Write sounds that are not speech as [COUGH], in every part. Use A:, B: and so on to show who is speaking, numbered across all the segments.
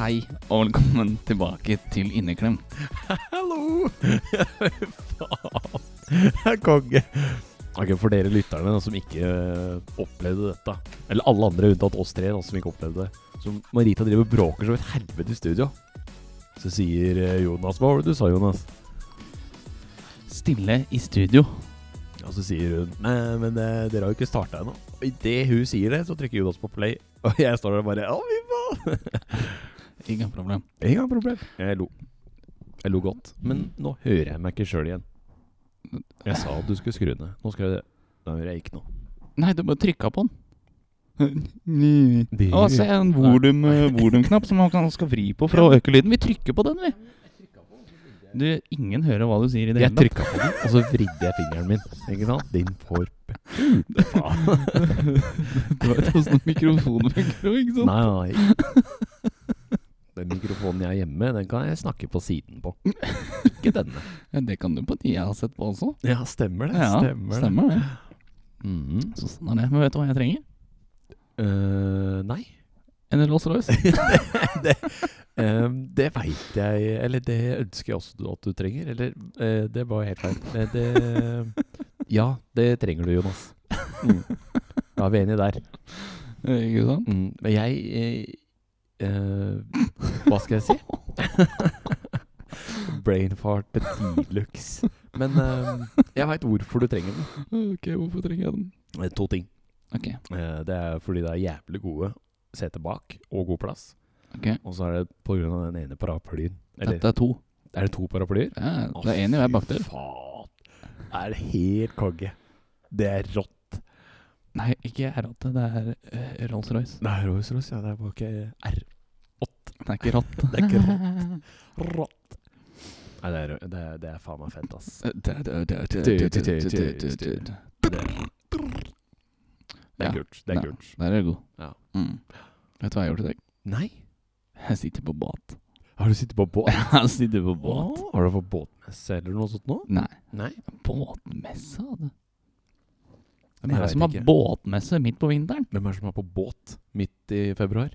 A: Hei, og velkommen tilbake til Inneklem.
B: Hallo! Faen. Jeg er konge. Ok, For dere lytterne da, som ikke eh, opplevde dette, eller alle andre unntatt oss tre da, som ikke opplevde det, så Marita driver og bråker som et helvete i studio. Så sier eh, Jonas Hva var det du sa, Jonas?
A: Stille i studio.
B: Og så sier hun Nei, men eh, dere har jo ikke starta ennå. Og idet hun sier det, så trykker Jonas på play, [LAUGHS] og jeg står der og bare Å, fy faen!
A: Ikke noe problem.
B: Ikke noe problem. Jeg lo. Jeg lo godt. Men nå hører jeg meg ikke sjøl igjen. Jeg sa at du skulle skru ned. Nå skal jeg det. Da hører jeg ikke noe.
A: Nei, du bare trykka på den.
B: Det-
A: Å, se en volum, eh, volumknapp som man kan skal vri på for å øke lyden. Vi trykker på den, vi. Du, ingen hører hva du sier i det
B: Jeg
A: hele
B: trykka på den, og så vridde jeg fingeren min. Ikke sant? Din
A: [LAUGHS]
B: forp.
A: tatt. Du sånn vet åssen mikrofonen funker, ikke sant?
B: Nei, [LAUGHS] nei. Den mikrofonen jeg har hjemme, den kan jeg snakke på siden på. Ikke denne.
A: Ja, det kan du på de jeg har sett på også.
B: Ja, stemmer det.
A: Ja, stemmer det.
B: Mhm.
A: Så sånn er det. Men vet du hva jeg trenger?
B: Eh, nei.
A: En Rolls-Royce.
B: Eh, det veit jeg Eller det ønsker jeg også du- at du trenger. Eller eh, Det var helt feil. Eh, [LAUGHS] det Ja, det trenger du, Jonas. Mm. Da er vi enige der.
A: Eh, Ikke sant?
B: Mm, men jeg eh, eh, Hva skal [LAUGHS] jeg si? Brainfart tidlux. Men eh, jeg veit hvorfor du trenger den.
A: Ok, hvorfor trenger jeg den?
B: Eh, To ting.
A: Ok,
B: Eh, det er fordi det er jævlig gode seter bak, og god plass.
A: ok.
B: Og så er det på grunn av den ene paraplyen. Eller
A: Dette er to.
B: er det to paraplyer?
A: Ja, det er en i hver bakdel.
B: Faen. Er det helt konge. Det er rått.
A: Nei, ikke ratt. Det er eh, Rolls-Royce.
B: Det er Rolls-Royce, ja. Det er bare ikke R.
A: Det er ikke [LAUGHS] ratt.
B: Det er ikke Rått. Nei, det er, det er, det er faen meg fett, ass.
A: Der
B: Det er, det
A: Ja.
B: er kult. Det er
A: Ja.
B: kult.
A: er du god.
B: Ja.
A: Mm. Vet du hva jeg gjorde i dag?
B: Nei?
A: Jeg sitter på båt.
B: Har du sittet på [LAUGHS] båt?
A: Jeg sitter på båt.
B: Har du fått båtmesse eller noe sånt nå?
A: Nei,
B: Nei.
A: båtmesse? du.
B: Hvem
A: Hvem er det som har
B: ikke.
A: båtmesse midt på vinteren?
B: Hvem er det som er på båt midt i februar?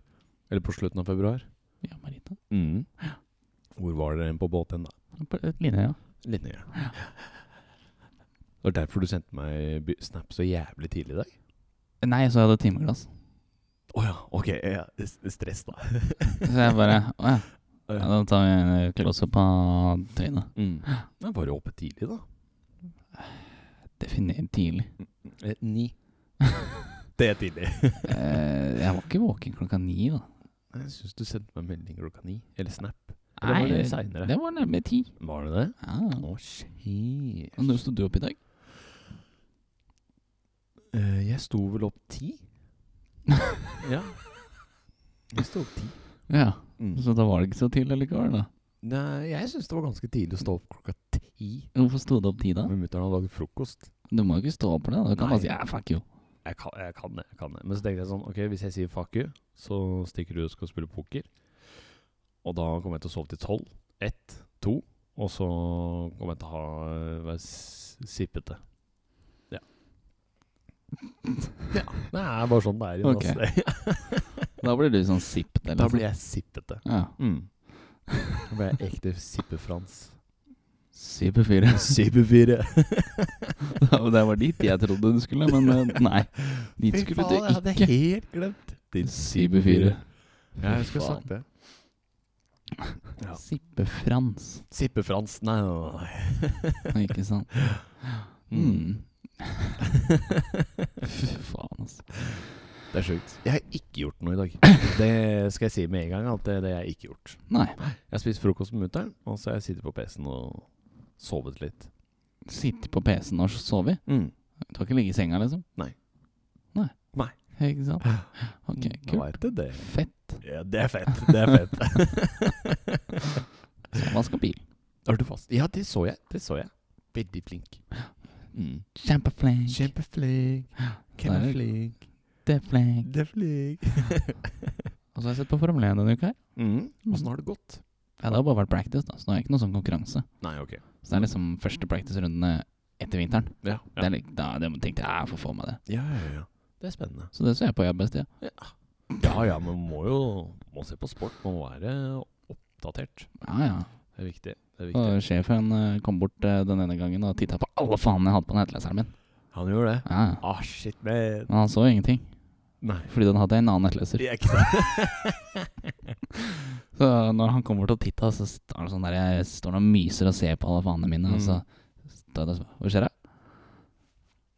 B: Eller på slutten av februar?
A: Ja, Marita.
B: Mm. Hvor var dere på båt hen, da?
A: På et linje, ja.
B: Linje. Det var derfor du sendte meg by- snap så jævlig tidlig i dag?
A: Nei, så jeg hadde timeglass.
B: Å ja, ok. Ja, s- stress, da.
A: Så jeg bare Å ja. ja da tar vi en close-up på trynet.
B: Mm. Men var du oppe tidlig, da?
A: Definer tidlig.
B: Eh, Ni. [LAUGHS] Det er tidlig.
A: Eh, jeg var ikke våken klokka ni, da.
B: Jeg syns du sendte meg melding klokka ni. Eller snap. Eller var
A: Nei,
B: det senere?
A: det var nærmere ti.
B: Var det det?
A: Ja.
B: Å, shit.
A: Når sto du opp i dag?
B: Eh, jeg sto vel opp
A: [LAUGHS]
B: ti? ja. Jeg sto opp ti.
A: Ja,
B: Mm.
A: så da var det ikke så tidlig likevel, da.
B: Nei, jeg syns det var ganske tidlig å stå opp klokka ti.
A: Hvorfor sto du opp ti, da?
B: Men mutter'n hadde lagd frokost.
A: Du må jo ikke stå opp for det. da. Du kan
B: Nei.
A: bare si ja, fuck you.
B: Jeg kan, jeg kan det. jeg kan det Men så tenkte jeg sånn Ok, hvis jeg sier fuck you, så stikker du og skal spille poker. Og da kommer jeg til å sove til tolv. Ett, to. Og så kommer jeg til å ha eh, være s- sippete. Ja. [LAUGHS] ja. Det er bare sånn det er. Jonas.
A: [LAUGHS] Da blir Mm. du sånn sippet, eller
B: da blir jeg sippete.
A: Ja.
B: Da blir jeg ekte sippefrans.
A: Sippe fire. [LAUGHS]
B: [LAUGHS] Sippefire.
A: det var dit jeg trodde du skulle, men eh, nei. Dit skulle du
B: jeg hadde
A: ikke.
B: helt glemt. Din
A: Sippe fire.
B: Ja, jeg
A: Fy
B: skulle
A: faen.
B: sagt det. Ja.
A: Sippe Frans.
B: Sippefrans. Nei, nei, nei.
A: Ikke
B: [LAUGHS]
A: sant? Mm. Fy faen, altså.
B: Det er sjukt. Jeg har ikke gjort noe i
A: [LAUGHS]
B: dag. Det skal jeg si med en gang. at det er det jeg har ikke gjort.
A: Nei.
B: Jeg har spist frokost med mutter'n, og så har jeg sittet på PC-en og sovet litt.
A: Sitte på PC-en og sove. Du har ikke ligget i senga, liksom?
B: Nei.
A: Nei.
B: Nei.
A: Ikke sant? Ok,
B: Da
A: kult.
B: vet jeg det.
A: Fett.
B: Ja, det er fett. Det er fett.
A: Vaska bil.
B: [LAUGHS] er du fast? Ja, det så jeg. Det så jeg. Veldig flink. Mm.
A: Kjempeflink.
B: Kjempeflink.
A: Der.
B: Kjempeflink.
A: Kjempeflink.
B: Det er flink.
A: Og så har jeg sett på Formel 1 denne uka. her.
B: Mm. Åssen har det gått?
A: Ja, det har bare vært practice, da, så det er ikke noe sånn konkurranse.
B: Nei, ok.
A: Så det er liksom første practice-rundene etter vinteren.
B: Ja,
A: Det
B: ja.
A: er litt, da, det tenkte "Ah, jeg, jeg får få med det.
B: ja, ja, ja. Det er spennende.
A: Så det ser jeg på i arbeidstida.
B: Ja. Ja, ja, men må jo må se på sport. Man må være oppdatert.
A: Ja, ja.
B: Det er viktig. Det er viktig.
A: Og sjefen eh, kom bort eh, den ene gangen og titta på alle fanene jeg hadde på nettleseren min.
B: Han gjorde det.
A: Ja, ja.
B: Ah, shit, man.
A: Men han så ingenting,
B: Nei.
A: fordi den hadde en annen nettleser.
B: Det er ikke sant.
A: [LAUGHS] Så når han kommer bort og titta, så står han sånn der, jeg står han og myser og ser på alle fanene mine. Og så
B: Mm.
A: står jeg der og spør Hva skjer da?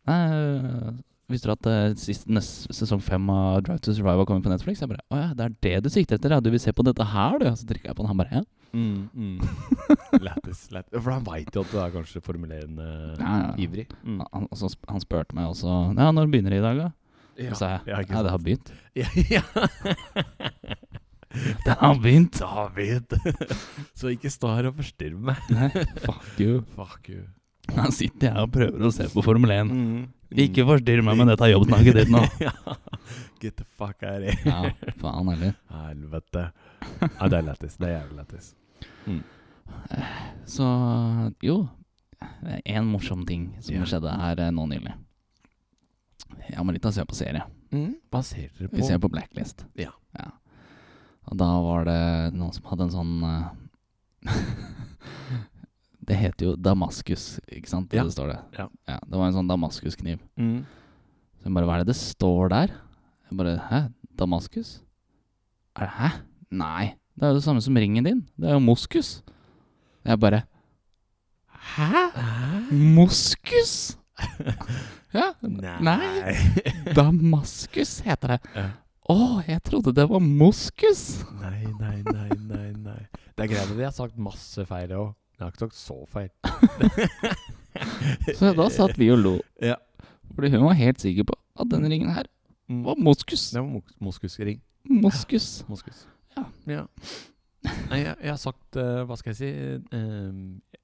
A: Nei, øh, visste du at øh, sist, neste sesong fem av Drive to Survive har kommet på Netflix? Jeg bare Å ja, det er det du sikter etter? Ja, du vil se på dette her, du? Så trykker jeg på den, han bare ja.
B: [LAUGHS] Mm, mm. Lættis. lættis. For han veit jo at du er kanskje formulerende
A: [LAUGHS] Ja, ja.
B: ivrig. Mm.
A: Han, og så sp- han spurte meg også Ja, når begynner det i dag, da?
B: Ja.
A: Så sa jeg
B: ja, ikke
A: ja, det har
B: sant.
A: begynt. [LAUGHS]
B: Ja, [LAUGHS] ja.
A: Det har begynt! [LAUGHS]
B: David! [LAUGHS] Så ikke stå her og forstyrr meg.
A: Nei, fuck you.
B: Fuck you.
A: Her sitter jeg og prøver å se på Formel 1. Ikke forstyrr meg med dette jobbsnakket ditt nå.
B: [LAUGHS] ja. Get the fuck out of here.
A: Ja, faen heller.
B: Helvete. Ja, det er lættis. Det er jævlig lættis.
A: Så jo, en morsom ting som
B: Ja.
A: skjedde her eh, nå nylig. Jeg og Marita ser på serie.
B: Hva ser dere
A: Vi ser på Blacklist.
B: Ja.
A: Og da var det noen som hadde en sånn eh, [LAUGHS] Det heter jo Damaskus, ikke sant?
B: Ja.
A: Det står det.
B: Ja.
A: Det var en sånn Damaskus-kniv.
B: Mm.
A: Så jeg bare, hva er det det står der? Jeg bare, hæ? Damaskus? Er det, hæ? Nei, det er jo det samme som ringen din. Det er jo moskus. Jeg bare, hæ? Moskus? ja,
B: Nei.
A: Nei. [LAUGHS] Damaskus heter det.
B: Ja.
A: Å, jeg trodde det var moskus. [LAUGHS]
B: nei, nei, nei, nei, nei. Det er greit at jeg har sagt masse feil òg. Jeg har ikke sagt så feil.
A: Så da satt vi og lo.
B: Ja.
A: Fordi hun var helt sikker på at denne ringen her
B: Mm.
A: var moskus.
B: [LAUGHS] Det var mos moskusring.
A: Moskus.
B: Moskus.
A: Ja.
B: Nei, jeg, jeg har sagt eh, Hva skal jeg si? Eh,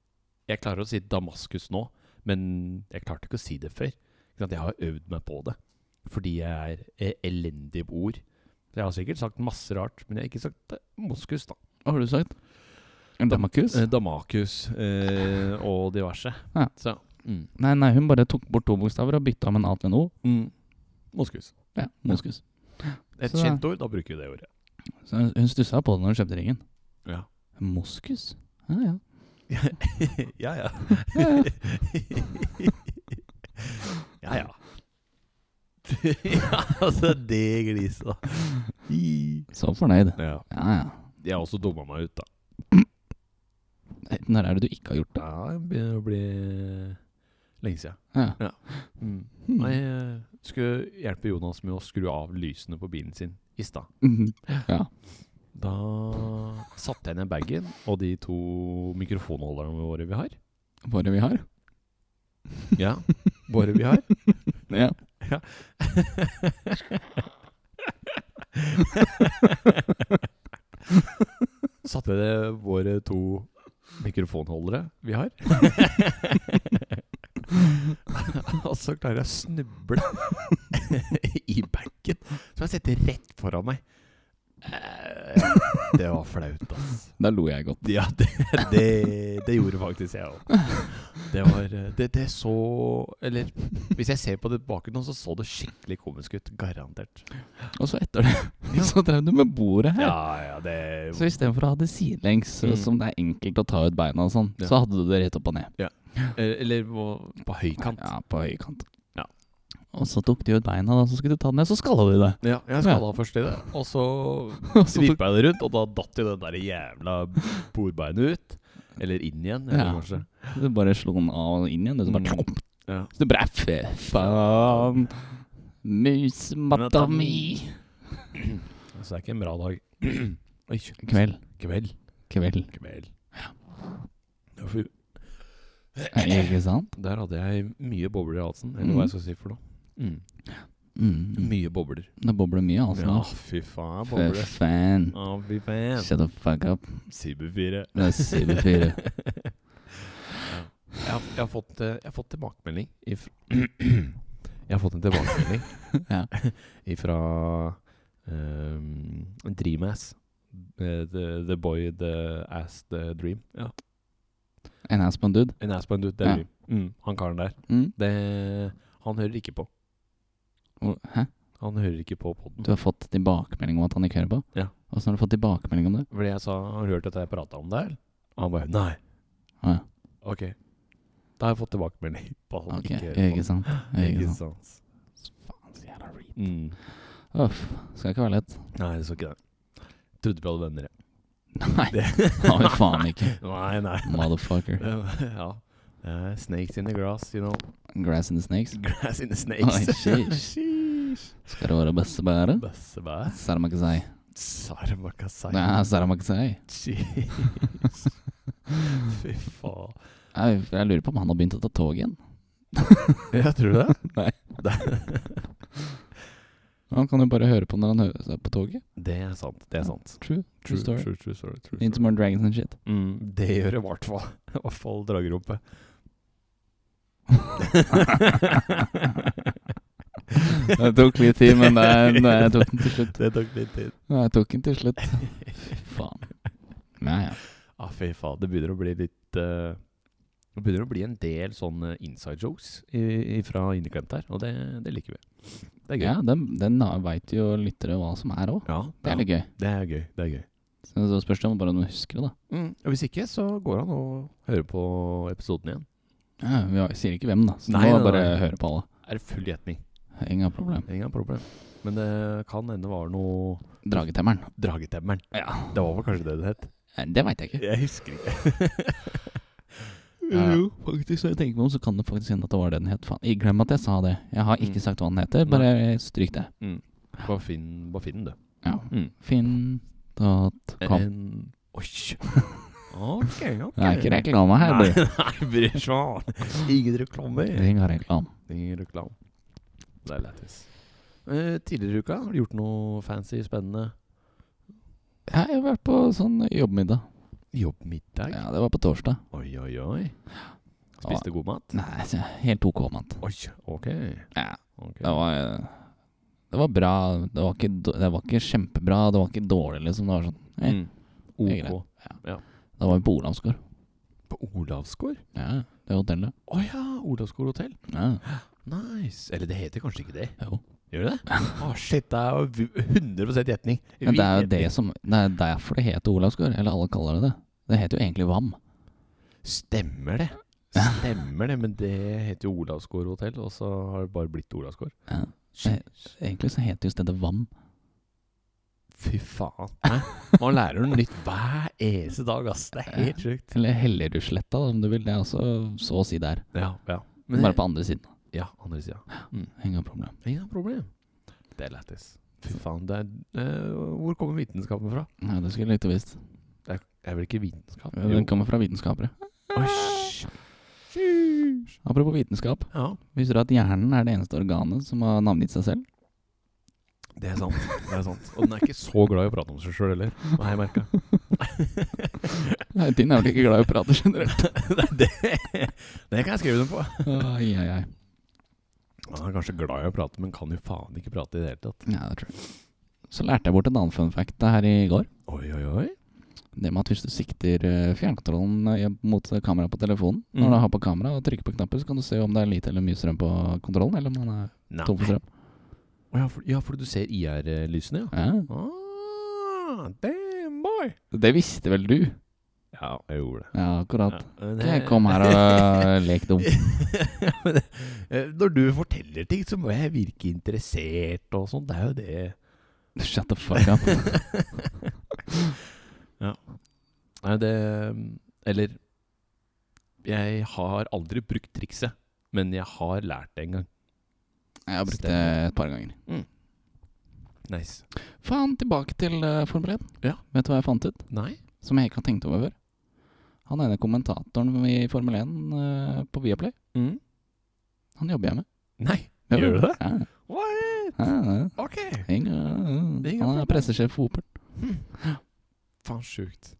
B: jeg klarer å si Damaskus nå, men jeg klarte ikke å si det før. Ikke sant? Jeg har øvd meg på det. Fordi jeg er eh, elendig på ord. Jeg har sikkert sagt masse rart, men jeg har ikke sagt eh, moskus, da.
A: Hva har du sagt? Damakus?
B: Eh, Damakus eh, og diverse.
A: Ja.
B: Så mm.
A: Nei, nei, hun bare tok bort to bokstaver og bytta om en A til en O.
B: Mm. Moskus.
A: Ja, moskus.
B: Et
A: Så da-
B: kjent ord, da bruker vi det ordet.
A: Så hun- hun stussa på det når hun kjøpte ringen.
B: Ja.
A: Moskus? Ja, ja.
B: [LAUGHS] ja, ja.
A: ja, ja.
B: Ja, ja. [LAUGHS] ja, altså, det gliset, da.
A: Så fornøyd.
B: Ja.
A: Ja, ja.
B: Jeg har også dumma meg ut, da.
A: Når er det du ikke har gjort det?
B: Ja, det begynner å bli lenge siden.
A: Ja. Hmm.
B: Nei, jeg skulle hjelpe Jonas med å skru av lysene på bilen sin i stad.
A: [LAUGHS] Mhm. Ja.
B: Da satte jeg ned bagen og de to mikrofonholderne våre vi har.
A: Våre vi har?
B: Ja, våre vi har.
A: [LAUGHS] Ja.
B: [LAUGHS] Satte jeg det våre to mikrofonholdere vi har. og så klarer jeg å snuble [LAUGHS] i bagen, som jeg setter rett foran meg. Eh, Det var flaut, ass.
A: Da lo jeg godt.
B: [LAUGHS] Ja, det, det, det gjorde faktisk jeg òg. Det var eh, det, det så Eller hvis jeg ser på det bakgrunnen, så så det skikkelig komisk ut. Garantert.
A: Og så etter det [LAUGHS] så drev du med bordet her.
B: Ja, ja, det
A: Så istedenfor å ha det sidelengs,
B: Mm.
A: som det er enkelt å ta ut beina og sånn,
B: Ja.
A: så hadde du det rett opp og ned.
B: Eh, Eller på, på høykant.
A: Ja, på høykant.
B: Ja.
A: Og så tok de ut beina, da, så skulle du ta den ned, så skalla de det.
B: Ja, jeg skalla først i det, og så
A: [LAUGHS] Og så tok,
B: vippa jeg det rundt, og da datt jo den der jævla bordbeinet ut. Eller inn igjen,
A: Ja.
B: eller kanskje.
A: du bare slo den av og inn igjen, og så bare
B: Mm.
A: tjomp.
B: Ja.
A: Så du bare fy faen. Musmatta mi.
B: Så det er ikke en bra dag. [CLEARS THROAT] Oi,
A: Kveld.
B: kveld.
A: Kveld.
B: Kveld. Ja, for-
A: Ja, ikke sant?
B: Der hadde jeg mye bobler i halsen,
A: Mhm.
B: eller hva jeg skal si for noe. Mm.
A: Mm.
B: Mye bobler.
A: Det bobler mye, altså.
B: Ja, fy faen,
A: Fy
B: bobler.
A: faen.
B: Ja, fy faen.
A: Shut the fuck up.
B: Cyberfire.
A: Det er Siver 4.
B: [LAUGHS] Jeg har, jeg har, fått, eh, jeg har fått tilbakemelding ifra [CLEARS THROAT] Jeg har fått en tilbakemelding
A: [LAUGHS] Ja.
B: [CLEARS THROAT] ifra um, Dreamass. Eh, The, the boy, the ass, the dream. Ja.
A: En ass på en dude.
B: En ass på en dude, det er
A: Ja.
B: dream. Mm, han karen der.
A: Mm.
B: Det, han hører ikke på.
A: Hvor- Hæ?
B: Han hører ikke på podden
A: Du har fått tilbakemelding om at han ikke hører på?
B: Ja.
A: Åssen har du fått tilbakemelding om det?
B: Fordi jeg sa Har du hørt at jeg prata om det, eller? Og han bare Nei.
A: Å ja.
B: Ok. Da har jeg fått tilbakemelding på at han
A: Ok,
B: ikke hører på.
A: ikke sant?
B: den.
A: Ikke sant.
B: sant.
A: Faen, så jævla read.
B: Mm.
A: Uff, skal ikke være lett.
B: Nei, det så ikke det. Trodde vi hadde venner, jeg.
A: Nei, det
B: Det-
A: har vi faen ikke.
B: [LAUGHS] Nei, nei.
A: Motherfucker.
B: ja. Eh, snakes in the grass, you know. [LAUGHS]
A: Grass and the snakes.
B: Grass in the
A: Oi,
B: snakes.
A: sheesh.
B: [LAUGHS] Sheesh.
A: Skal det være beste bære?
B: Bøssebær.
A: Saramakasai.
B: Sarmakasai.
A: Nei, Saramakasai. [LAUGHS]
B: Jeez. Fy faen.
A: Jeg, jeg lurer på om han har begynt å ta tog
B: [LAUGHS]
A: igjen.
B: Ja, tror du det?
A: Nei.
B: Det,
A: Han kan jo bare høre på når han hører seg på toget.
B: det er sant. Det er sant.
A: True. True story.
B: True, true story. True
A: Into
B: story.
A: more dragons and shit.
B: Mm, det gjør det i hvert fall. I hvert fall dragerumpe.
A: [LAUGHS] Det tok litt tid, men det, nei, jeg tok den til slutt.
B: [LAUGHS] Det tok litt tid.
A: Ja, Jeg tok den til slutt. Fy faen. Ja, ja.
B: Ah, fy faen. Det begynner å bli litt eh, Det begynner å bli en del sånne inside jokes i, i, fra inneklemt her, og det, det liker vi. Det er gøy.
A: ja den, den veit jo lyttere hva som er òg.
B: Ja,
A: Det er
B: ja,
A: litt gøy.
B: det er gøy. Det er gøy.
A: Så så spørs det om bare noen husker det, da.
B: Og hvis ikke, så går han og hører på episoden igjen.
A: Ja, vi har- sier ikke hvem, da. Så
B: Nei,
A: må
B: nei,
A: bare
B: nei.
A: høre på alle.
B: Er det full gjetning?
A: Ingen problem.
B: Ingen problem. Men det kan hende var noe
A: Dragetemmeren.
B: Dragetemmeren.
A: Ja,
B: Det var vel kanskje det det het?
A: Nei, det veit jeg ikke.
B: Jeg husker [LAUGHS] ikke.
A: Ja. faktisk, når jeg tenker meg om, så kan det faktisk hende at det var det den het. Faen, jeg glem at jeg sa det. Jeg har ikke
B: Mm.
A: sagt hva den heter, bare stryk det.
B: Bare finn, bare finn det.
A: Ja.
B: Mm.
A: Finn.com.
B: En Oi. Ok, ok.
A: Det er ikke reklame her, du.
B: Nei, [LAUGHS] nei bryr seg om. Ingen reklame.
A: Det er Ingen reklame.
B: Ingen reklame. Det er lættis. Eh, tidligere i uka, har du gjort noe fancy, spennende?
A: Jeg har vært på sånn jobbmiddag.
B: Jobbmiddag?
A: Ja, det var på torsdag.
B: Oi, oi, oi. Spiste god mat?
A: Nei, så helt OK mat.
B: Oi, ok.
A: Ja,
B: ok.
A: det var eh, Det var bra. Det var ikke, då- det var ikke kjempebra, det var ikke dårlig, liksom. Det var sånn eh,
B: Mm.
A: det er greit.
B: OK.
A: Da var vi på Olavsgård.
B: På Olavsgård?
A: Ja, det hotellet.
B: Å ja, Olavsgård hotell.
A: Ja,
B: Nice. Eller det heter kanskje ikke det?
A: jo.
B: Gjør det det? Å, shit, det er jo v- 100 gjetning.
A: Men det er jo
B: Vill
A: det
B: gjetning.
A: som Det er derfor det heter Olavsgård. Eller alle kaller det det. Det heter jo egentlig VAM.
B: Stemmer det. Stemmer det, men det heter jo Olavsgård hotell, og så har det bare blitt Olavsgård.
A: Ja. Det- Egentlig så heter jo stedet VAM.
B: Fy faen. Hæ? Man lærer noe nytt hver eneste dag, ass. Det er helt sjukt.
A: [LAUGHS] Eller Hellerudsletta, om du vil. Det er også så å si der.
B: Ja, ja.
A: Bare på andre siden.
B: Ja, Mm. andre sida.
A: Ingen problem.
B: Ingen problem. Det er lættis. Fy faen, det er eh, Hvor kommer vitenskapen fra?
A: Nei, det skulle jeg likt å visst.
B: Det er, er vel ikke vitenskap?
A: Den kommer fra vitenskapere.
B: Osh.
A: Apropos vitenskap.
B: Ja,
A: Visste du at hjernen er det eneste organet som har navngitt seg selv?
B: det er sant. Det er sant. Og den er ikke så glad i å prate om seg sjøl heller, har jeg merka.
A: [LAUGHS]
B: [LAUGHS]
A: Nei, din er vel ikke glad i å prate generelt.
B: det, det, det kan jeg skrive den på.
A: Ai, ai, ai.
B: Han er kanskje glad i å prate, men kan jo faen ikke prate i det hele tatt.
A: Ja, det tror jeg. Så lærte jeg bort en annen fun fact her i går.
B: Oi, oi, oi.
A: Det med at hvis du sikter eh, fjernkontrollen eh, mot kameraet på telefonen
B: Mm.
A: Når du har på kamera og trykker på knapper, så kan du se om det er lite eller mye strøm på kontrollen, eller om den er
B: Nei.
A: tom for strøm.
B: Å ja, for, ja, for du ser IR-lysene, ja.
A: Ja.
B: Ah, damn boy!
A: Det visste vel du?
B: Ja, jeg gjorde det.
A: Ja, akkurat.
B: men
A: Ikke kom her
B: [LAUGHS]
A: og eh, lek dum.
B: Men det- eh, Når du forteller ting, så må jeg virke interessert og sånn. Det er jo det.
A: Shut the fuck up.
B: [LAUGHS] Nei, det Eller Jeg har aldri brukt trikset, men jeg har lært det en gang.
A: Jeg har brukt det et par ganger.
B: Nice.
A: Faen, tilbake til eh, Formel 1.
B: Ja.
A: Vet du hva jeg fant ut?
B: Nei?
A: Som jeg ikke har tenkt over før. Han ene kommentatoren i Formel 1 eh, på Viaplay,
B: Mm.
A: han jobber jeg med.
B: Nei. Gjør du det?
A: Ja,
B: What?
A: ja, ja.
B: Ok.
A: Ingen-
B: Det er ingen
A: Han
B: problem.
A: er pressesjef for Opel.
B: Hm. Faen, sjukt.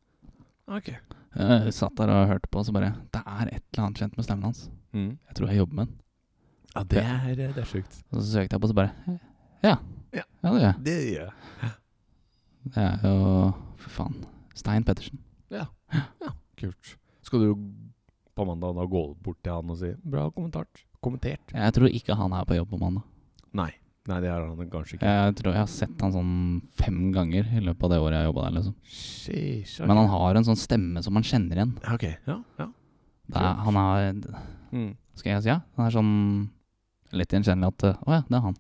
B: Ok.
A: Jeg satt der og hørte på, og så bare Det er et eller annet kjent med stemmen hans. Jeg tror jeg jobber med den.
B: Mm. Ja, det er, det er sjukt.
A: Og så søkte jeg på, og så bare Ja.
B: Ja.
A: ja det gjør jeg.
B: Det gjør jeg.
A: Det er jo Fy faen. Stein Pettersen.
B: Ja. ja. Kult. Skal du på mandag da gå bort til han og si 'bra kommentert'? Kommentert?
A: Jeg tror ikke han er på jobb på mandag.
B: Nei. Nei, det har han kanskje ikke.
A: Jeg tror jeg har sett han sånn fem ganger i løpet av det året jeg jobba der. liksom
B: Sheesh, ok.
A: Men han har en sånn stemme som man kjenner igjen.
B: Ja, Ok, ja. ja.
A: Det er, han har
B: Mm.
A: Skal jeg si ja? Han er sånn litt gjenkjennelig at eh, Å ja, det er han.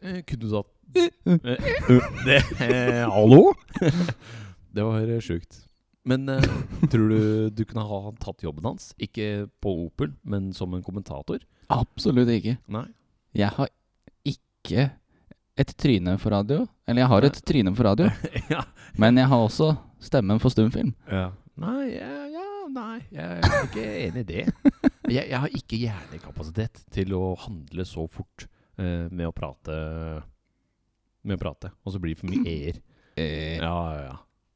B: Eh, Kunne du sagt Eh, eh, det, eh, Hallo? [LAUGHS] det var eh, sjukt. Men eh, tror du du kunne ha tatt jobben hans? Ikke på Opel, men som en kommentator?
A: Absolutt ikke.
B: Nei.
A: Jeg har ikke et tryne for radio. Eller jeg har et tryne for radio,
B: [LAUGHS] ja.
A: men jeg har også stemmen for stumfilm.
B: Ja. Nei, ja, ja, nei, jeg er ikke enig i det. Jeg, jeg har ikke hjernekapasitet til å handle så fort eh, med å prate Med å prate, og så blir det for mye e-er.
A: [LAUGHS] Eh,
B: Ja, ja,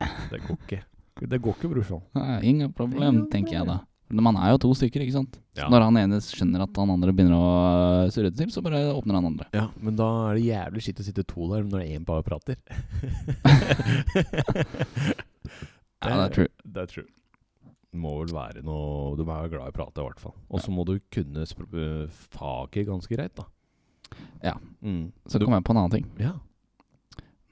B: ja. Det går ikke. Det går ikke, sånn. brorsan.
A: nei, ingen problem, tenker jeg da. Men man er jo to stykker, ikke sant. Så
B: Ja.
A: når han ene skjønner at han andre begynner å eh, surre det til, så bare åpner han andre.
B: Ja, men da er det jævlig skitt å sitte to der når det er én bare prater.
A: [LAUGHS]
B: [LAUGHS]
A: Ja, det er true.
B: Det er true. Det må vel være noe Du må være glad i å prate, i hvert fall. Og så må du kunne spr øh, faget ganske greit, da.
A: Ja.
B: Mm.
A: Så kom jeg på en annen ting.
B: Ja.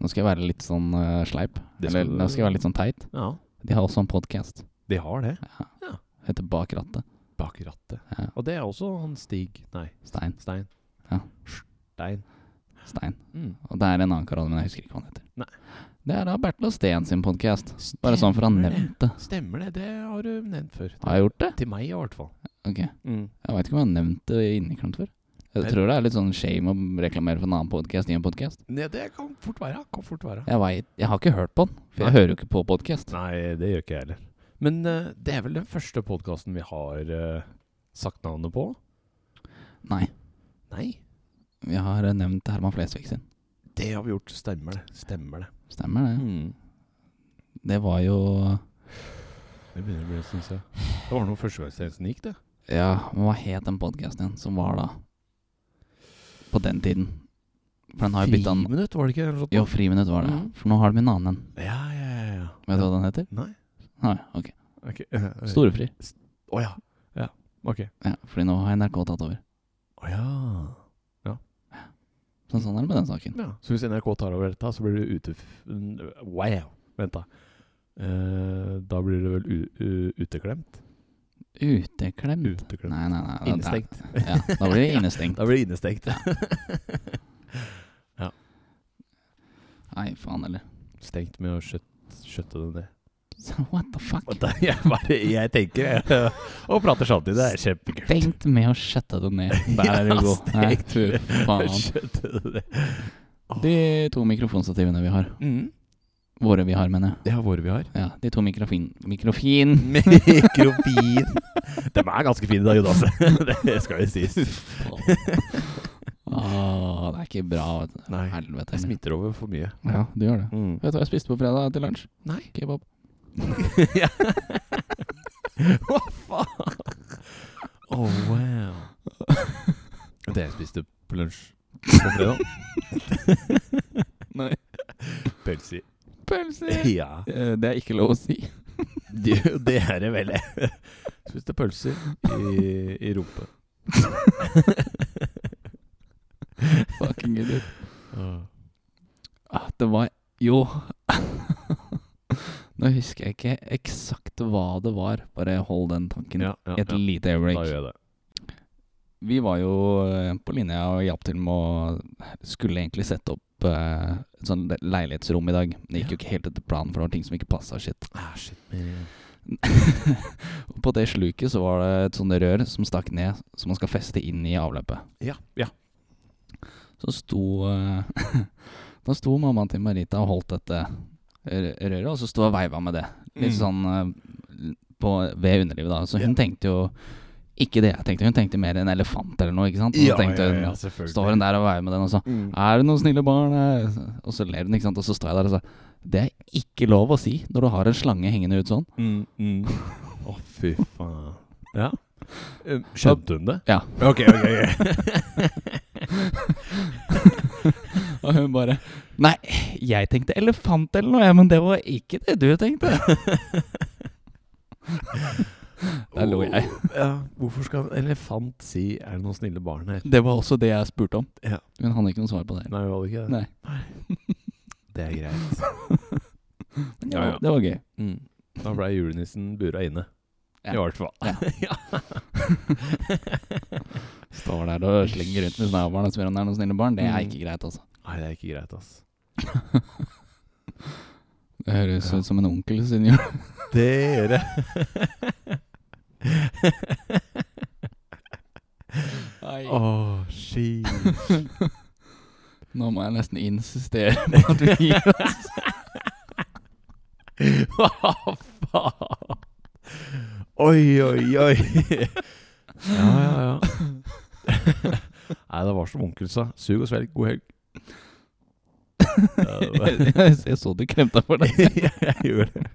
A: Nå skal jeg være litt sånn eh, sleip.
B: Det skal
A: Eller
B: du-
A: nå skal jeg være litt sånn teit.
B: ja.
A: De har også en podkast.
B: De har det.
A: Heter Bak rattet.
B: Bak rattet.
A: Ja.
B: Og det er også han Stig Nei,
A: Stein.
B: Stein.
A: Ja.
B: Stein.
A: Stein.
B: Mm.
A: Og det er en annen karat, men jeg husker ikke hva han heter.
B: Nei.
A: Det er da Bertil og Steen sin podkast. Bare sånn for han
B: Stemmer det.
A: nevnte.
B: Stemmer det. Det har du nevnt før.
A: Har jeg gjort det?
B: Til meg, i hvert fall.
A: Ok. Jeg veit ikke om jeg har nevnt det inneklemt før.
B: Nei.
A: Jeg tror det er litt sånn shame å reklamere for en annen podkast i en podkast.
B: Ja, det kan fort være. Kan fort være.
A: Jeg, vet- jeg har ikke hørt på den, for jeg
B: Nei.
A: hører jo ikke på podkast.
B: Nei, det gjør ikke jeg heller. Men eh, det er vel den første podkasten vi har eh, sagt navnet på?
A: Nei.
B: Nei.
A: Vi har eh, nevnt Herman Flesvig sin.
B: Det har vi gjort. Stemmer det. Stemmer det.
A: Stemmer det.
B: Mm.
A: Det var jo
B: Det begynner å bli, syns jeg. Det var noe førstegangstjenesten gikk, det.
A: Ja, men hva het den podkasten igjen som var da? På den tiden. For den har jo bytta den
B: Friminutt, var det ikke? eller noe sånt?
A: Jo, Friminutt var det.
B: Mhm.
A: For nå har de en annen en.
B: Ja, ja, ja. ja.
A: Vet du hva den heter?
B: Nei.
A: Nei, ok.
B: Ok.
A: Storefri.
B: Å ja. Ja. Ok.
A: Ja, fordi nå har NRK tatt over.
B: Å ja.
A: Så sånn er det med den saken.
B: ja. Så hvis NRK tar over dette, så blir det ute... f- Wow. Vent, da. Eh, da blir det vel u u uteklemt?
A: Uteklemt?
B: Uteklemt.
A: Nei, nei, nei. da-
B: Innestengt.
A: da- Ja, da blir det innestengt.
B: Da blir det innestengt.
A: Nei, faen heller.
B: [LAUGHS] Stengt med å skjøtt- skjøtte det ned.
A: Så What the fuck?
B: Og da- jeg, bare, jeg tenker jeg, og prater samtidig. Det er kjempekult.
A: Stengt med å skjøtte det ned. Der er du
B: [LAUGHS] Ja,
A: god. Nei,
B: stengt
A: fy faen.
B: Skjøtte det ned.
A: De to mikrofonstativene vi har.
B: Mm.
A: Våre vi har, mener jeg.
B: Det er våre vi har.
A: Ja, de to mikrofin... Mikrofin!
B: Mikrofin. De er ganske fine, da, Jonas. [LAUGHS] Det skal jo sies.
A: Åh, det er ikke bra. Vet du.
B: Nei.
A: Helvete.
B: Jeg smitter over for mye.
A: Ja, du gjør det.
B: Mm.
A: Vet du hva jeg spiste på fredag til lunsj?
B: Nei.
A: Kebab.
B: [LAUGHS] Ja. Hva faen? Å, Oh, wow. Det jeg spiste på lunsj på fredag. [LAUGHS]
A: Nei.
B: Pølse.
A: Pølser!
B: [LAUGHS] Ja.
A: Eh, Det er ikke lov å si.
B: [LAUGHS] Det, det er det vel. Spiste pølser i, i rumpa.
A: Fucking idiot. Ah, Det var Jo. [LAUGHS] Nå husker jeg ikke eksakt hva det var. Bare hold den tanken
B: Ja, ja, ja.
A: et
B: Da
A: lite
B: gjør
A: øyeblikk.
B: jeg det.
A: Vi var jo eh, på linja og hjalp til med å Skulle egentlig sette opp eh, et sånn le- leilighetsrom i dag. Det gikk jo ikke helt etter planen, for det var ting som ikke passa. Shit. [LAUGHS]
B: Ah, shit. men-
A: Og på det sluket så var det et sånt rør som stakk ned, som man skal feste inn i avløpet.
B: Ja. ja.
A: Så sto eh, [LAUGHS] Da sto mammaen til Marita og holdt dette rø- røret, og så sto jeg og veiva med det. Litt
B: Mm.
A: sånn eh, på, ved underlivet, da. Så hun tenkte jo ikke det jeg tenkte, hun tenkte mer en elefant eller noe. ikke sant? Og så tenkte hun,
B: selvfølgelig.
A: Står hun der og veier med den, og så
B: Mm.
A: 'Er det noen snille barn?' her?» Og så ler hun, ikke sant. Og så står jeg der og så Det er ikke lov å si når du har en slange hengende ut sånn. [LAUGHS]
B: Mm, mm. [LAUGHS] Å, fy faen. Ja. Um, Skjønte hun det?
A: Ja.
B: Ok, ok, ok.
A: Og hun bare 'Nei, jeg tenkte elefant eller noe, jeg, men det var ikke det du tenkte'. [LAUGHS] Der lå jeg.
B: Oh, ja, hvorfor skal en elefant si 'er det noen snille barn her'?
A: Det var også det jeg spurte om.
B: Ja.
A: Hun hadde ikke noe svar på det.
B: Nei, hun hadde ikke det.
A: Nei.
B: Det er greit.
A: Men det
B: Ja,
A: var,
B: ja.
A: Det var gøy.
B: Da blei julenissen bura inne.
A: Ja.
B: I hvert fall.
A: Ja.
B: Ja.
A: Står der og slenger rundt med snabelen og spør om det er noen snille barn. Det er
B: Mm.
A: ikke greit, altså.
B: Nei, det er ikke greit, ass.
A: Det høres
B: Ja.
A: ut som en onkel sin jul.
B: Det gjør
A: [LAUGHS]
B: det. Å, shit.
A: Nå må jeg nesten insistere på at vi gir oss.
B: Hva faen? Oi, oi, oi. Ja, ja, ja. Nei, det var som onkel sa. Sug og svelg. God helg. Ja, det var-
A: jeg, jeg så du kremta for deg.
B: jeg gjorde det.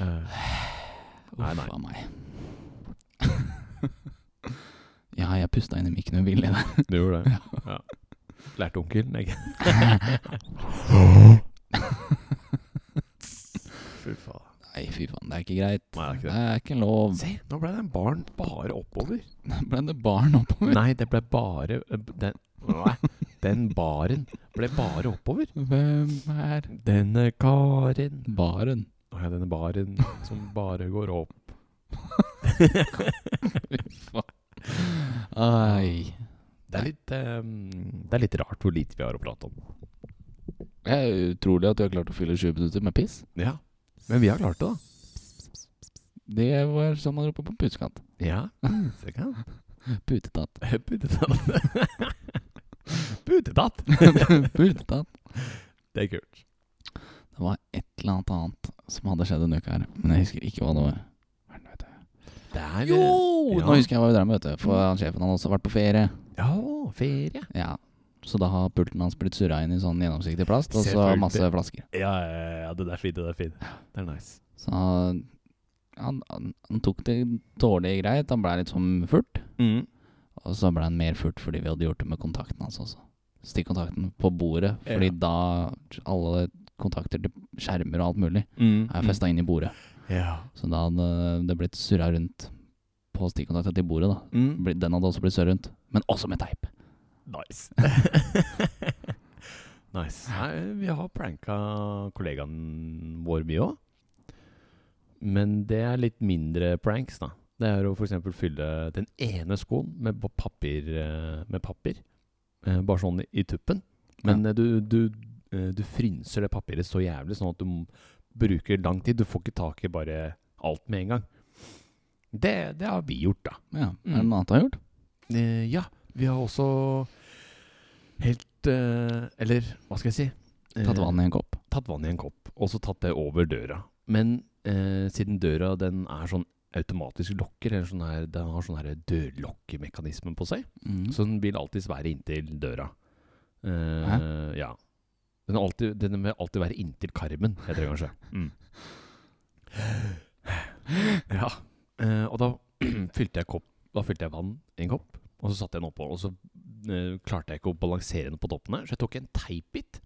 B: Eh, [LAUGHS] Nei, nei.
A: Uff a meg. [LAUGHS] ja, jeg pusta inn i mikken med vilje der.
B: Du gjorde det. Ja. Lærte onkel, nei. Fy faen.
A: Nei, fy faen, det er ikke greit.
B: Nei, det er ikke
A: Det
B: det.
A: er ikke lov.
B: Se, nå ble det en barn bare oppover.
A: Ble det barn oppover?
B: Nei, det ble bare Den, nei, den baren ble bare oppover.
A: Hvem er
B: Denne Karin [LAUGHS]
A: baren?
B: Å ja, denne baren [LAUGHS] som bare går opp.
A: Ai.
B: Det er litt, eh, det er litt rart hvor lite vi har å prate om.
A: Det er utrolig at du har klart å fylle 20 minutter med piss.
B: Ja, Men vi har klart det, da.
A: Det var som man roper på pusekatt.
B: [LAUGHS] Ja. Pusekatt.
A: [LAUGHS] Putetatt.
B: [LAUGHS] Putetatt. Putetatt.
A: Putetatt.
B: Det er kult.
A: Det var et eller annet annet som hadde skjedd denne uka her, men jeg husker ikke hva det var. Helvete.
B: Det er
A: Jo!
B: ja.
A: Nå husker jeg hva vi drev med, vet du. For han sjefen hadde også vært på ferie.
B: Ja, ferie.
A: Ja. Så da har pulten hans blitt surra inn i sånn gjennomsiktig plast, og så
B: Selvfølgelig.
A: masse flasker.
B: Ja, ja, ja, det er fint. Det er fint. Det er nice.
A: Så han, han, han tok det dårlig greit. Han blei litt sånn furt.
B: Mm,
A: Og så ble han mer furt fordi vi hadde gjort det med kontakten hans også. Stikkontakten på bordet, fordi
B: Ja.
A: da alle kontakter til skjermer og alt mulig er festa inn i bordet.
B: mm, Ja.
A: Så da hadde det blitt surra rundt på stikkontakta til bordet, da.
B: Mm.
A: Bli- Den hadde også blitt surra rundt, men også med teip.
B: Nice. nice. Nei, vi har pranka kollegaen vår mye òg. Men det er litt mindre pranks, da. Det er å f.eks. fylle den ene skoen med ba- papir. eh, Med papir. Eh, Bare sånn i- i tuppen. Men eh, du, du, eh, du frynser det papiret så jævlig, sånn at du m- bruker lang tid. Du får ikke tak i bare alt med en gang. Det, det har vi gjort, da.
A: Ja, Er det
B: Mm.
A: noe annet du har gjort?
B: Eh, ja, vi har også helt eh, Eller hva skal jeg si? Eh,
A: Tatt vann i en kopp?
B: tatt vann i en kopp, og så tatt det over døra. Men eh, siden døra den er sånn automatisk lokker, eller sånn her, den har sånn her dørlokkemekanisme på seg,
A: Mm.
B: så den vil alltid være inntil døra. Eh,
A: Hæ?
B: Ja. Den, er alltid, den vil alltid være inntil karmen, heter det
A: [LAUGHS]
B: kanskje.
A: Mm.
B: [LAUGHS] Ja. Eh, og da [CLEARS THROAT] fylte jeg kopp Da fylte jeg vann i en kopp, og så satte jeg den oppå. Og så eh, klarte jeg ikke å balansere den på toppen her, så jeg tok en teipbit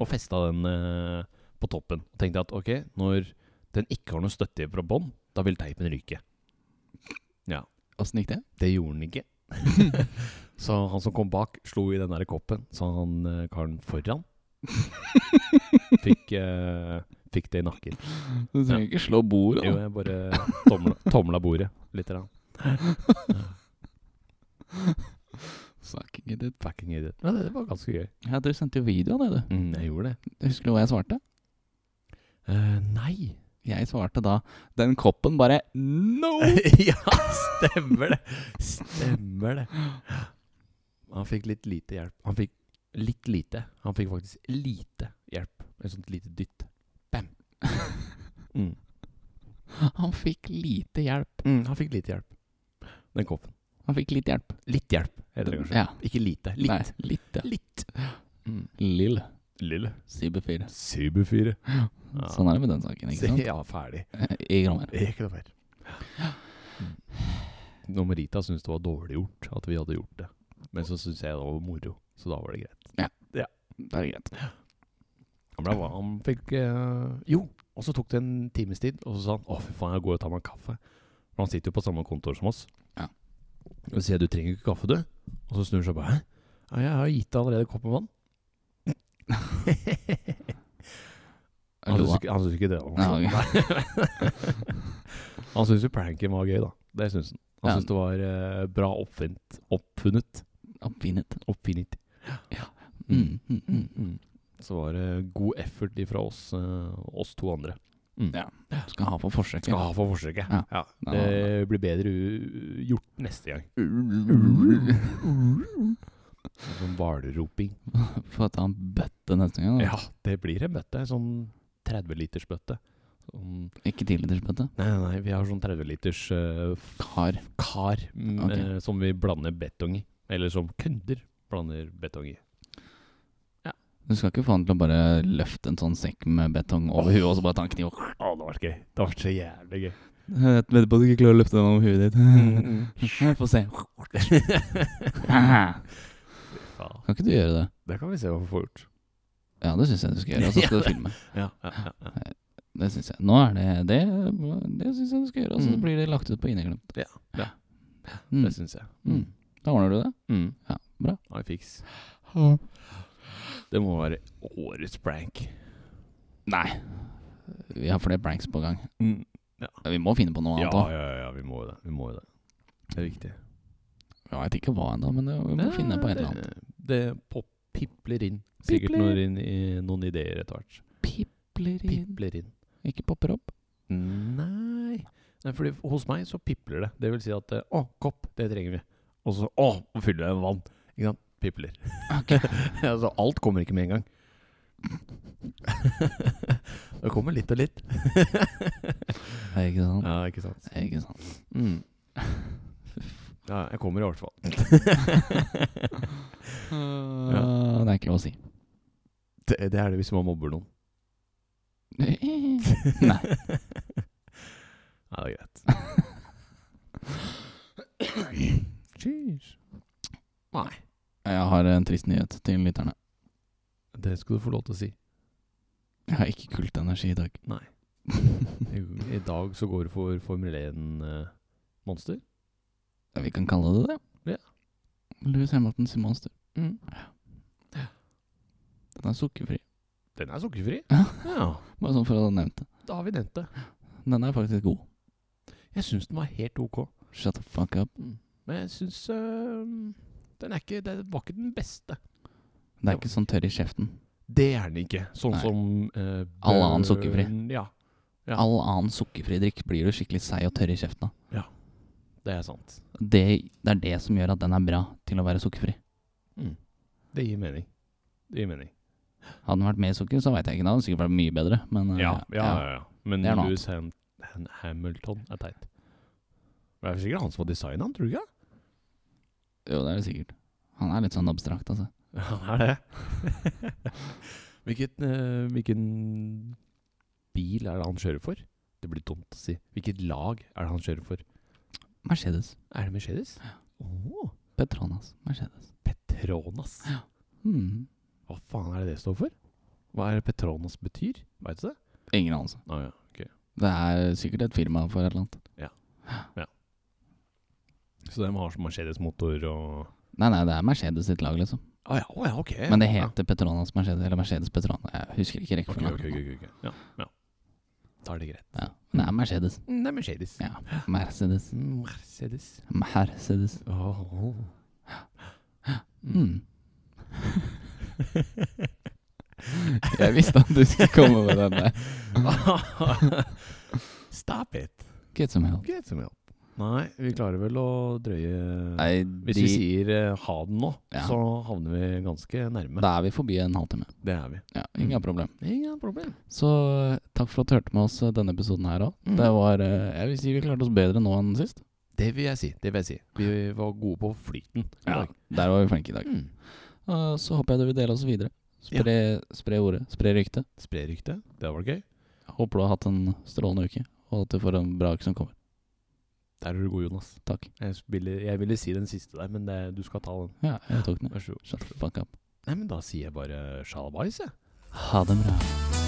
B: og festa den eh, på toppen. Og tenkte at ok, når den ikke har noe støtte fra bånn, da vil teipen ryke.
A: Åssen gikk det?
B: Det gjorde den ikke. [LAUGHS] så han som kom bak, slo i den der koppen, så han eh, karen [LAUGHS] foran fikk, eh, fikk det i nakken.
A: Du trenger ikke slå bordet.
B: Jo,
A: da.
B: jeg bare tomla, tomla bordet litt. Rann.
A: Fuck, ikke det.
B: Fucking idiot. Ja, det, det var ganske gøy.
A: Ja, du sendte jo video av det, du.
B: jeg gjorde det. Eh,
A: Husker du hva jeg svarte?
B: nei.
A: Jeg svarte da Den koppen bare
B: [LAUGHS]
A: No!
B: ja, stemmer det. Stemmer det. Han fikk litt lite hjelp. Han fikk litt lite. Han fikk faktisk lite hjelp. Et sånt lite dytt. Bam. Mm.
A: Han fikk lite hjelp.
B: han fikk lite hjelp. Den koppen.
A: Han fikk litt hjelp.
B: Litt hjelp, heter det kanskje.
A: Ja.
B: Ikke lite. Litt.
A: Nei, litt, ja.
B: Litt. Mm.
A: Lill.
B: Lille.
A: CB4.
B: Cyberfyre.
A: Sånn er det med den saken, ikke sant?
B: [LAUGHS] Ja, ferdig.
A: Eh, I Grommer.
B: Ikke noe mer. Når Rita syntes det var dårlig gjort at vi hadde gjort det. Men så syntes jeg det var moro, så da var det greit.
A: Det er greit.
B: Han, ble, han fikk eh, Jo, Og så tok det en times tid, og så sa han å, fy faen, jeg går og tar meg en kaffe. For han sitter jo på samme kontor som oss.
A: Ja.
B: Og så sier jeg du trenger ikke kaffe, du. Og så snur han seg og bare hæ? Ja, jeg har gitt deg allerede en kopp med vann. Han
A: Lo
B: syns
A: han.
B: ikke, han syns ikke det var
A: Nei,
B: morsomt. Nei. Han syns jo pranken var gøy, da. Det syns han. Han
A: Ja.
B: syns det var eh, bra oppfunnet. Oppfunnet.
A: Oppfinnet.
B: Oppfinnet.
A: Mm, mm, mm.
B: Så var det god effort ifra oss, eh, oss to andre.
A: Ja. Skal ha på forsøket.
B: Skal ha for forsøket.
A: Ja.
B: Ja.
A: Ja. [LAUGHS]
B: Det blir bedre u gjort neste gang. Sånn hvalroping.
A: Får jeg ta en bøtte neste gang? Da.
B: Ja, det blir en bøtte. En sånn 30-litersbøtte. Sånn,
A: Ikke 10-litersbøtte?
B: nei, nei, nei, vi har sånn 30-liters eh,
A: Kar.
B: kar mm,
A: Ok.
B: eh, som vi blander betong i. Eller som kunder blander betong i.
A: Du skal ikke få han til å bare løfte en sånn sekk med betong over huet og så bare ta en kniv og
B: Å, det har vært gøy. Det har vært så jævlig gøy.
A: [LAUGHS] Jeg vedder på at du ikke klarer å løfte den over huet ditt. [LAUGHS] Få se. Kan
B: Ja,
A: ikke du gjøre det?
B: det kan vi se hva vi får gjort.
A: Ja, det syns jeg du skal gjøre. Og så [LAUGHS] skal du filme.
B: Ja, ja, ja, ja.
A: Det syns jeg. Nå er det det, det syns jeg du skal gjøre. Og så
B: Mm.
A: blir det lagt ut på Inneglemt.
B: Ja, ja.
A: Mm.
B: Det syns jeg.
A: Mm. Da ordner du det.
B: Mm.
A: Ja, bra.
B: Ja, vi fiks. Det må være årets prank.
A: Nei. Vi har flere pranks på gang.
B: Mm.
A: Vi må finne på noe
B: Ja,
A: annet
B: ja,
A: òg.
B: ja, ja, vi må jo det. Vi må jo det. Det er viktig.
A: Ja, jeg vet ikke hva ennå, men vi må finne på et eller annet.
B: Eh, Det pop pipler inn. Sikkert
A: Pipler.
B: Noen, inn i, noen ideer etter hvert.
A: Pipler inn
B: Pipler inn.
A: Ikke popper opp.
B: Nei. Nei, fordi hos meg så pipler det. Det vil si at eh, å, kopp, det trenger vi. Og så å, nå fyller jeg med vann. Ikke sant? Pipler.
A: [LAUGHS]
B: [LAUGHS] altså, alt kommer ikke med en gang. [LAUGHS] det kommer litt og litt. [LAUGHS]
A: Er ikke sant?
B: Ja, ikke sant.
A: Er ikke sant?
B: Mm. Ja, jeg kommer i hvert
A: [LAUGHS]
B: fall.
A: Øh, Det er ikke lov å si.
B: Det, det er det hvis man mobber noen.
A: [LAUGHS] Nei.
B: Ja, det er greit.
A: Jeg har en trist nyhet til lytterne.
B: Det skal du få lov til å si.
A: Jeg har ikke kult energi i dag. [LAUGHS]
B: Nei. I, i dag så går du for Formel eh, 1-monster.
A: Ja, Vi kan kalle det det.
B: Ja. Mm.
A: Louis Hamilton sin monster. Den er sukkerfri.
B: Den er sukkerfri.
A: Ja.
B: Ja,
A: Bare sånn for å ha nevnt det.
B: da har vi nevnt det.
A: Den er faktisk god.
B: Jeg syns den var helt ok.
A: Shut the fuck up.
B: Men jeg syns øhm, den er ikke, det var ikke den beste.
A: Det er ikke sånn tørr i kjeften.
B: Det er den ikke. Sånn
A: Nei.
B: som uh,
A: All annen sukkerfri.
B: Ja, Ja.
A: All annen sukkerfri drikk blir du skikkelig seig og tørr i kjeften av.
B: det er sant.
A: Det, det er det som gjør at den er bra til å være sukkerfri.
B: Det gir mening. Det gir mening.
A: Hadde den vært mer sukker, så veit jeg ikke. Det hadde den sikkert vært mye bedre. Men eh,
B: Ja, ja, ja. ja. Men
A: Det er noe
B: Lewis Ham Ham Hamilton er teit. Det er sikkert han som har designet han, tror du ikke? [LAUGHS]
A: Jo, det er det sikkert. Han er litt sånn abstrakt, altså.
B: Han er det. [LAUGHS] hvilket, eh, hvilken bil er det han kjører for? Det blir dumt å si. Hvilket lag er det han kjører for?
A: Mercedes.
B: Er det Mercedes? Åh,
A: Petronas. Mercedes.
B: Petronas.
A: Hmm.
B: Hva faen er det det står for? Hva er det Petronas betyr? Veit du det?
A: Ingen anelse.
B: Ah, ja. ok.
A: Det er sikkert et firma for et eller annet.
B: Så de har sånn Mercedes-motor og
A: Nei, nei, det er Mercedes sitt lag, liksom.
B: Å ja, å ja, ok.
A: Men det
B: Ja.
A: heter Petronas Mercedes, eller Mercedes Petrona. Jeg husker ikke
B: Ok,
A: rekkefølgen.
B: ok, ok. ok, ok. Ja, ja. Da er det greit.
A: Ja. Men det er Mercedes.
B: Det er Mercedes.
A: Ja. Mercedes.
B: Mercedes.
A: Mercedes.
B: [LAUGHS]
A: Hmm. Jeg visste at du skulle komme med den der.
B: Stop it.
A: Get some help.
B: Get some help. Nei, vi klarer vel å drøye
A: Nei,
B: Hvis
A: de,
B: vi sier eh, ha den nå,
A: Ja.
B: så havner vi ganske nærme.
A: da er vi forbi en halvtime.
B: Det er vi.
A: Ja, Ingen
B: Mm.
A: problem.
B: Ingen problem.
A: Så takk for at du hørte med oss eh, denne episoden her òg.
B: Mm.
A: Det var eh, Jeg vil si vi klarte oss bedre nå enn sist.
B: Det vil jeg si. det vil jeg si. Vi var gode på flyten. i dag.
A: Der var vi flinke i dag.
B: Mm.
A: Og så håper jeg du vil dele oss videre. Spre, spre ordet, spre ryktet.
B: Spre ryktet. Det var gøy.
A: Håper du har hatt en strålende uke, og at du får en bra uke som kommer.
B: Der er du god, Jonas.
A: Takk.
B: Jeg ville, jeg ville si den siste der, men det, du skal ta den.
A: Ja, jeg tok den.
B: Vær så god.
A: Shut the fuck up.
B: Nei, men da sier jeg bare sjalabais, jeg.
A: Ha det bra.
B: Ha